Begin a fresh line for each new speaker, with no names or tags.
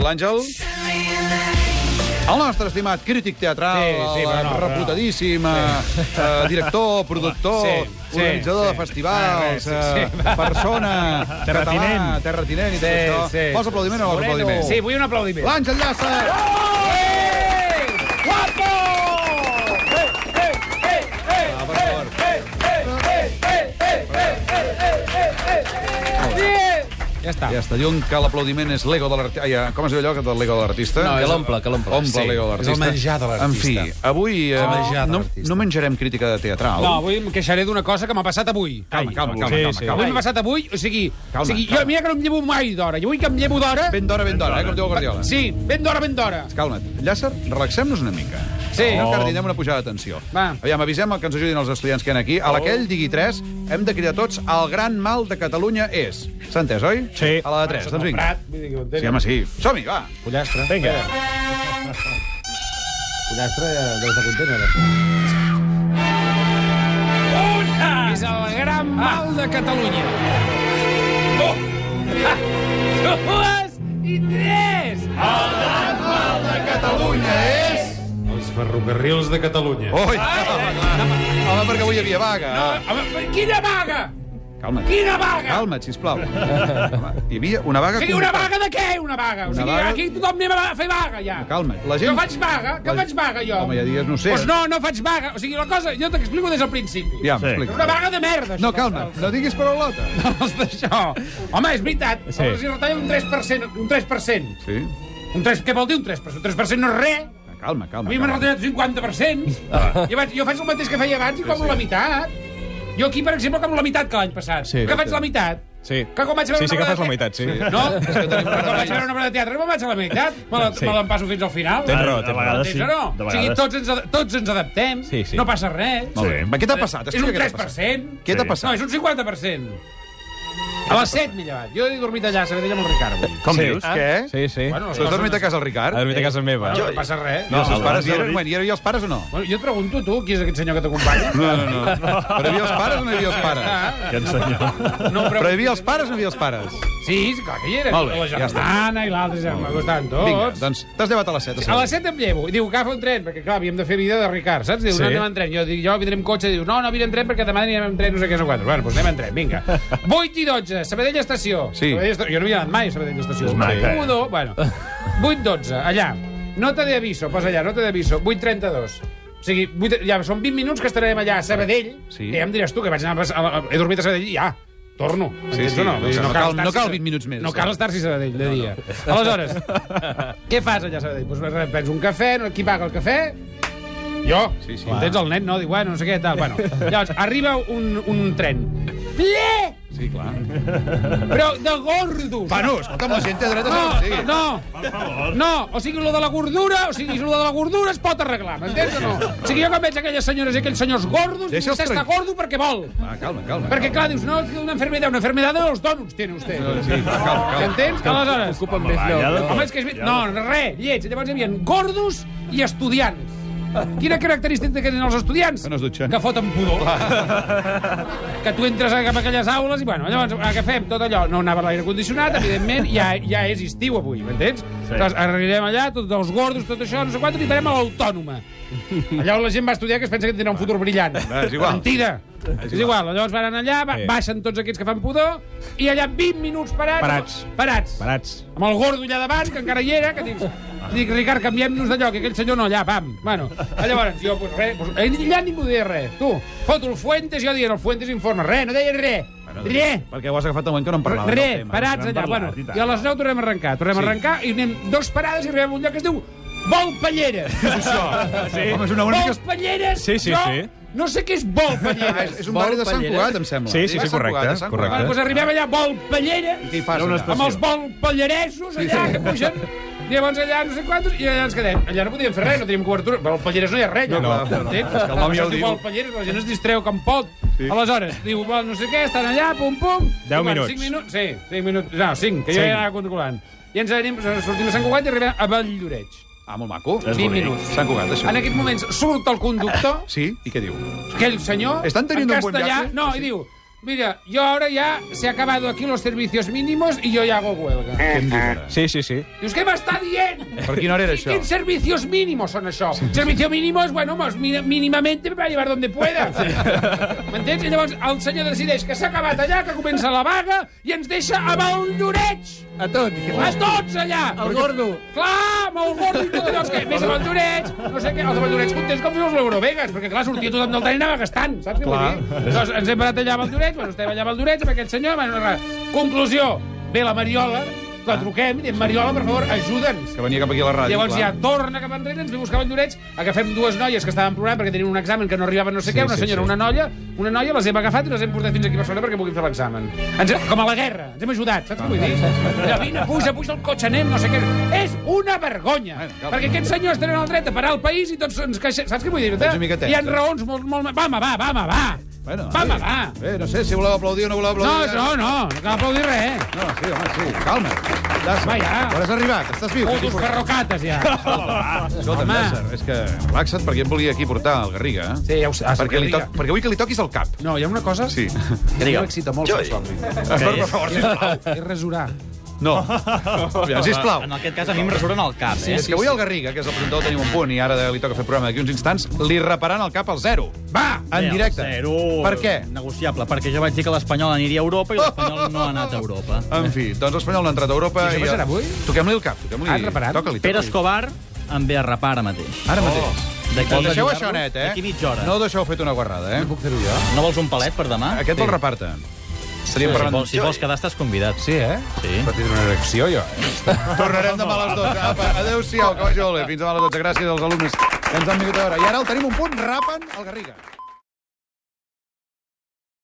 l'Àngel. El nostre estimat crític teatral,
Sí, sí, però no, però no.
reputadíssim sí. eh, director, productor,
Sí, sí,
organitzador
sí.
de festivals,
Ah, res, sí,
eh,
sí.
persona,
Terratinent.
català, terratinent i tot
Sí,
això.
sí.
Vols aplaudiment o vols
Moreno.
aplaudiment?
Sí, vull un aplaudiment.
L'Àngel Llàcer! Ah, per favor.
Ja està.
Ja està, diuen que l'aplaudiment és l'ego de l'artista. Ai, eh, com es diu allò, que del l'ego de l'artista?
No, és- Que l'omple, que l'omple.
Omple
Sí,
l'ego de
és
l'artista.
el menjar de l'artista.
En fi, avui eh,
el menjar de
no,
l'artista.
no menjarem crítica de teatral.
No, avui em queixaré d'una cosa que m'ha passat avui.
Calma,
Ai,
calma,
avui.
calma,
Sí,
calma,
sí.
calma.
Avui m'ha passat avui, o sigui...
Calma,
o sigui
calma.
Jo, mira que no em llevo mai d'hora. I avui que em llevo d'hora...
Ben d'hora, ben d'hora, eh, com diu el Guardiola.
Sí, ben d'hora, ben d'hora.
Calma't. Llàcer, relaxem-nos una mica.
Sí.
No,
Oh.
encara tindrem una pujada de tensió.
Va.
Aviam, avisem que ens ajudin els estudiants que hi ha aquí. A l'aquell, digui 3, hem de cridar tots el gran mal de Catalunya és. S'ha entès, oi?
Sí.
A la de 3, doncs vinga. Sí, home, sí. Som-hi, va.
Pollastre. Vinga. Pollastre ja deu estar content, ara.
És el
Ah.
gran mal de Catalunya.
Oh.
Dues i tres!
Els ferrocarrils de Catalunya.
Oi, home, perquè avui hi havia vaga.
No, home, quina vaga!
Calma't.
Quina vaga!
Calma't, sisplau. Home, hi havia una vaga...
O sigui, una
convocada.
vaga de què, una vaga? O
Una
sigui,
vaga-
aquí tothom anem a fer vaga, ja.
Calma, la gent...
Jo faig vaga, que
La-
faig vaga, jo.
Home, ja digues, no ho sé.
Doncs no, no faig vaga. O sigui, la cosa, jo t'explico des del principi.
Ja,
Sí.
m'explica.
Una vaga de merda, això.
No, calma,
dels-
no diguis parolota.
dels d'això. Home, és veritat.
Sí.
Sí. Els hi retallen un 3%. Un 3%.
Sí?
Un 3, què vol dir un 3%? Un 3% no és res.
Calma, calma.
A mi m'han
calma.
retallat un 50%.
Ah.
Jo, vaig, jo faig el mateix que feia abans i cobro la meitat. Jo aquí, per exemple, cobro la meitat que l'any passat.
Sí,
que faig
exacte.
la meitat.
Sí.
Que quan vaig a veure
Sí, sí
una
que
obra
fas la
de
meitat, sí.
teatre- No, és que tenim quan vaig a veure una obra de teatre no me'n vaig a la meitat. Me la-
Sí.
me l'empasso fins al final.
Tens raó,
A
tens raó.
vegades
Entens
sí.
o no?
De
O sigui,
vegades.
tots ens, ad- tots ens adaptem,
Sí, sí.
no passa res.
Molt bé. Va, què t'ha passat?
És un
Explica què t'ha passat.
3%.
Què t'ha
Sí.
No,
passat?
és un 50%. A les 7 m'he llevat. Jo he dormit allà, a Sabadell amb el Ricard. avui.
Com
Sí,
dius?
què?
Sí, sí.
Bueno, les
Tu has
coses
dormit
no-
a casa el
Ha
Ricard?
dormit a casa meva.
Bueno, no passa res.
I els seus pares hi
jo
eren?
he dit-
Bueno, hi eren i els pares o no?
Bueno, jo et pregunto, tu, qui és aquest senyor que t'acompanya?
No, no, no. Però hi havia els pares o no hi havia els pares?
Ah,
Aquest senyor.
No,
Però hi havia els pares o no hi havia els pares?
Sí, sí, clar que hi era.
Molt bé,
la
ja
germana i l'altra germana, que estaven tots.
Vinga, doncs t'has llevat a les 7.
A les 7 em llevo i diu, agafa un tren, perquè clar, havíem de fer vida de Ricard, saps? Diu,
Sí.
no anem en tren. Jo dic, jo vindré amb cotxe, diu, no, no vindré en tren perquè demà anirem en tren, no sé què, no sé quantos. Bueno, doncs anem en tren, vinga. 8 i 12, Sabadell Estació.
Sí.
Sabadell Estació. Jo no hi he anat mai a Sabadell Estació.
És maca, eh?
1, 2, bueno. 8, 12, allà. Nota de aviso, posa allà, nota de aviso. 8, 32. O sigui, 8, ja són 20 minuts que estarem allà a Sabadell,
Sí.
que ja em diràs tu que vaig anar a, a, a, he dormit a Sabadell i ja, torno.
Sí,
Entens
sí,
o
no,
Vull dir,
no cal-
estar-s'hi
no cal
a-
20 minuts més.
No cal estar-s'hi a Sabadell de dia. Aleshores, què fas allà a Sabadell? Doncs res, prens un cafè, no- qui paga el cafè? Jo.
Sí, sí.
Entens el nen, no? Diu, bueno, no sé què, tal. Bueno, llavors, arriba un, un tren. Ple!
Sí, clar.
Però de gordos!
Bueno, escolta'm, la gent té dret a
No,
saber on sigui.
no, no, o sigui, lo de la gordura, o sigui, lo de la gordura es pot arreglar, m'entens o no? O sigui, jo quan veig aquelles senyores i aquells senyors gordos, dic,
Deixa'ls
vostè està
tranquil.
gordo perquè vol.
Va, Ah, calma, calma.
Perquè,
calma.
clar, dius, no, tiene una enfermedad, una enfermedad de los donuts tiene usted.
Sí, va, calma, calma.
Entens? Aleshores...
Ocupen més lloc.
Home, és que és... ver- No, res, lleig. Llavors hi havia gordos i estudiants. Quina característica tenen els estudiants?
Que no es dutxen.
Que foten pudor. que tu entres a cap a aquelles aules i, bueno, llavors, a què fem? Tot allò. No anava l'aire condicionat, evidentment, ja, ja és estiu avui, m'entens? Sí. Llavors, arribarem allà, tots els gordos, tot això, no sé quant, i anirem a l'autònoma. Allà on la gent va estudiar que es pensa que tindrà un futur brillant.
Va, és igual.
Mentida. És igual. Llavors van allà, ba
Sí.
baixen tots aquests que fan pudor, i allà 20 minuts parats...
Parats.
Parats
Parats.
amb el gordo allà davant, que encara hi era, que dic, dic Ricard, canviem-nos de lloc, i aquell senyor no, allà, pam. Bueno, allà, llavors, jo, pues, res, pues, allà ningú deia res. Tu, foto el Fuentes, jo dient, el Fuentes informa, res, no deia res, res.
Perquè ho has agafat al moment que no en parlàvem. doncs, del
Re,
tema.
parats allà.
n'hem
bueno,
parlat, i tant.
I a les 9 tornem a arrencar. Tornem a arrencar i anem dos parades i arribem a un lloc que es diu Vol Palleres.
Sí. Home, és una
Vol
única...
Palleres,
Sí, sí,
jo
sí.
no sé què és Vol
Ah,
Palleres.
és, és un barri de Sant Cugat, em sembla.
Sí, sí, sí,
Sant
correcte,
Cugat, de Sant
correcte.
Bueno,
Cugat.
doncs arribem allà a Vol Palleres,
I què hi fas, allà?
doncs, amb els volpallaresos allà que pugen. I llavors allà no sé quantos, i allà ens quedem. Allà no podíem fer res, no teníem cobertura. Però al Palleres no hi ha res, allò.
No, no, no, no.
Entens?
És que el nom ja ho
Es diu
diu.
Valpallares, la gent es distreu com pot. Aleshores, diu, "Val, no sé què, estan allà, pum, pum.
Deu
I, bueno,
minuts.
cinc minuts. Sí, cinc minuts. No, cinc, que jo
Cinc.
ja anava controlant. I ens anem, doncs, sortim a Sant Cugat i arribem a Valldoreix.
Ah, molt maco.
És
20
bonic.
minuts.
Sant Cugat, això.
En aquests moments surt el conductor,
Sí, i què diu?
aquell senyor,
Estan tenint
en
un bon
castellà,
viatge?
no, i diu, Mira, yo ahora ya se ha acabado aquí los servicios mínimos y yo ya hago huelga.
Què em dius ara?
Sí, sí, sí.
Dius, què m'està dient?
Per quina hora era això?
¿Qué servicios mínimos son eso? Servicio mínimo és, bueno, pues, mi- mínimamente me va a llevar donde pueda. M'entens? I llavors el senyor decideix que s'ha acabat allà, que comença la vaga i ens deixa amb el lloreig.
A tots.
Els tots allà!
El gordo.
Clar, amb el gordo i tot allò que... Més abandonets, no sé què, els abandonets contents com dius l'Eurovegas, perquè clar, sortia tothom del tren i anava gastant, saps què vull dir? Llavors ens hem parat allà a Valdorets, bueno, estem allà a Valdorets amb aquest senyor, bueno, res. conclusió, ve la Mariola, la truquem i diem, Mariola, per favor, ajuda'ns.
Que venia cap aquí a la ràdio,
Llavors
Ah, clar.
ja torna cap enrere, ens ve a buscar Valdorets, agafem dues noies que estaven plorant perquè tenien un examen que no arribava no sé què, una
sí,
senyora,
sí.
una noia, una noia, les hem agafat i les hem portat fins aquí a Barcelona perquè puguin fer l'examen. Ens, com a la guerra, ens hem ajudat, saps
Ah,
què vull dir? Allò, vine, puja, puja el cotxe, anem, no sé què. És una vergonya,
Bueno, cal.
perquè aquests senyors tenen el dret a parar el país i tots ens queixem. Saps què vull dir?
Ets una mica tensa.
Hi ha raons molt... molt... Va, home, va, va, home, va.
Bueno,
va, home,
sí.
va.
Bé, no sé si voleu aplaudir o no voleu
No,
aplaudir.
no, no, no cal aplaudir res. eh?
No, sí, home, sí. Calma. Llàcer,
Va, ja.
Quan has arribat? Estàs viu?
Fotos ferrocates, ja.
Escolta'm,
Home.
Llàcer, és que relaxa't perquè em volia aquí portar el Garriga. eh?
Sí, ja ho saps.
perquè, li toc, perquè vull que li toquis el cap.
No, hi ha una cosa
Sí.
que m'excita molt sexualment.
Per favor, sisplau.
És resurar.
No. Aviam, sisplau.
En aquest cas, a mi em resuren el cap, eh?
és que avui el Garriga, que és el presentador, tenim un punt i ara li toca fer programa d'aquí uns instants, li reparan el cap al zero.
Va!
En
Bé,
directe.
el Zero...
Per què?
Negociable, perquè jo vaig dir que l'Espanyol aniria a Europa i l'Espanyol no ha anat a Europa.
En fi, doncs l'Espanyol no ha entrat a Europa...
I això passarà avui?
Toquem-li el cap. Toquem-li...
Ah, han reparat?
Toca-li,
Pere
toca-li.
Escobar em ve a rapar ara mateix.
Ara mateix.
Oh, D'aquí
Ho deixeu
ajudar-lo?
això net, eh?
D'aquí mitja hora.
No deixeu fet una guarrada, eh?
Puc fer-ho jo?
No vols un palet per demà?
Aquest sí. el reparta. Estaríem
Si
sí, parlant...
vols, si vols quedar, estàs convidat.
Sí, eh?
Sí.
Patit una erecció, jo. Tornarem demà a les 12. Apa, adéu-siau, que vagi molt bé. Fins demà a les 12. Gràcies als alumnes que ens han vingut a veure. I ara el tenim un punt, rapen el Garriga.